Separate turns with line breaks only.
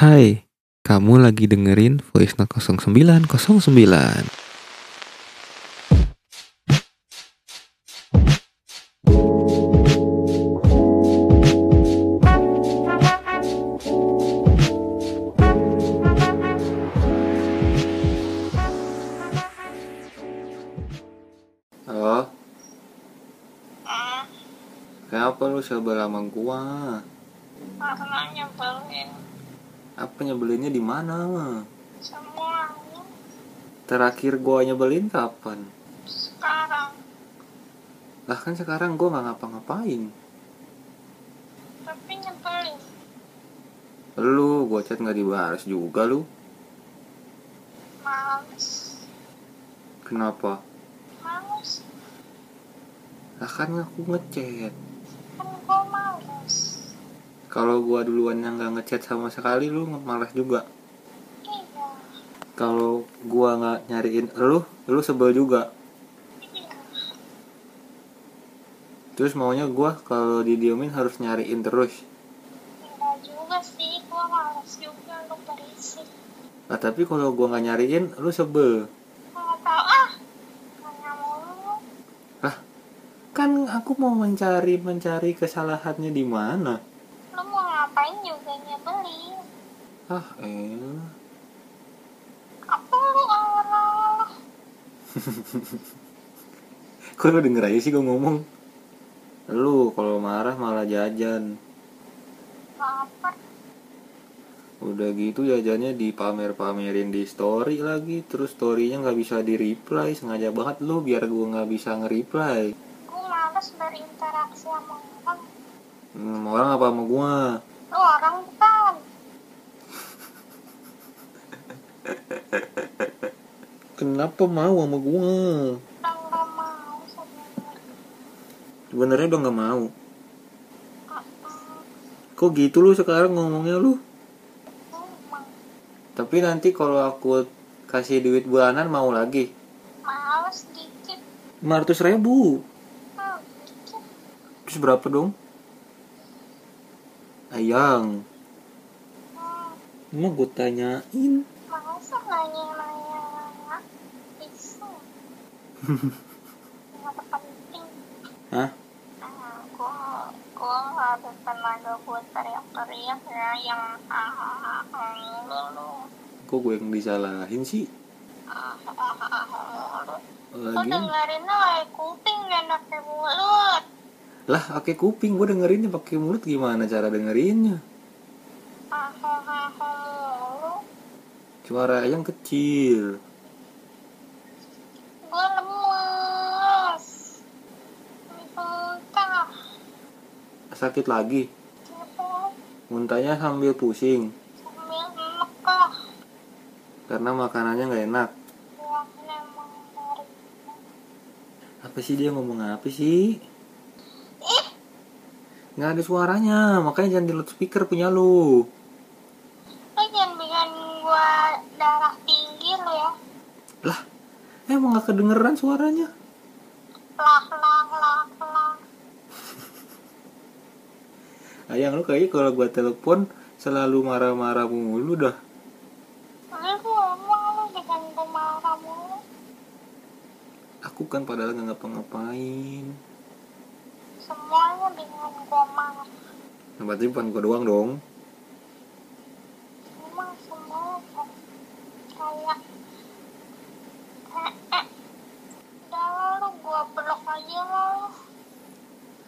Hai, kamu lagi dengerin Voice Note 0909. Halo,
Ah,
kenapa lu sabar lama gua?
karena nyebelin
Apa nyebelinnya di mana?
semua
Terakhir gua nyebelin kapan?
sekarang
Lah kan sekarang gua nggak ngapa-ngapain.
tapi nyebelin
Lu, gua chat nggak dibalas juga lu.
males
Kenapa?
males
Lah kan aku ngechat.
kan gue males
Kalau gua duluan yang nggak ngechat sama sekali, lu malas juga.
iya
Kalau gua nggak nyariin lu, lu sebel juga.
iya
Terus maunya gua kalau didiemin harus nyariin terus.
enggak iya juga sih gue males juga lu berisik
Nah, tapi kalau gua nggak nyariin, lu sebel.
Gua nggak tahu ah karena mulu
Kan aku mau mencari mencari kesalahannya di mana.
lu mau ngapain juga nyebelin
Ah, elah.
apa lu awal-awal
Kok lu denger aja sih gua ngomong? Lu kalau marah malah jajan.
lapar
Udah gitu jajannya dipamer-pamerin di story lagi Terus storynya nggak bisa di reply Sengaja banget lu biar gua nggak bisa nge-reply
gue males berinteraksi sama orang
Hmm, Orang apa sama gua?
lu orang kan, bukan
Kenapa mau sama gua?
orang nggak mau sebenarnya
Sebenernya udah nggak mau
Mm,
Kok gitu lu sekarang ngomongnya lu?
emang
Tapi nanti kalau aku kasih duit bulanan mau lagi
males dikit
500 ribu
hmm, dikit
Terus berapa dong? Nah, Ayang
hmm,
Emang gue tanyain
masa nanya-nanya isu nggak ada penting
Hah?
Ah, gua gua nggak ada tenaga buat teriak-teriak ya yang ah ah ah, ah mulu lu
Kok gue yang disalahin sih? Eh,
ah ah ah, ah mulu lu
Lagi
dengerinnya kayak kuping dan pakai mulut
Lah, pakai kuping gue dengerinnya pakai mulut gimana cara dengerinnya?
ah ah ah ah, mulu
Suara yang kecil.
gua Oh, lemes muntah
Sakit lagi.
Kenapa?
Muntahnya sambil pusing
Sambil emek kah?
karena makanannya nggak enak.
Gua kan emang dari
Apa sih dia ngomong apa sih?
Ih,
Nggak ada suaranya, makanya jangan di loudspeaker punya lu.
lu jangan bikin gua darah tinggi lu ya
Lah, emang nggak kedengeran suaranya?
Lah, lah, lah, lah
Ayang Nah, lu kayaknya kalau gua telepon selalu marah-marah mulu dah.
Lu ngomong lu bikin gua marah mulu
Aku kan padahal nggak ngapa-ngapain.
Semuanya bikin gua marah
Nah, berarti bukan gua doang dong.
Eh,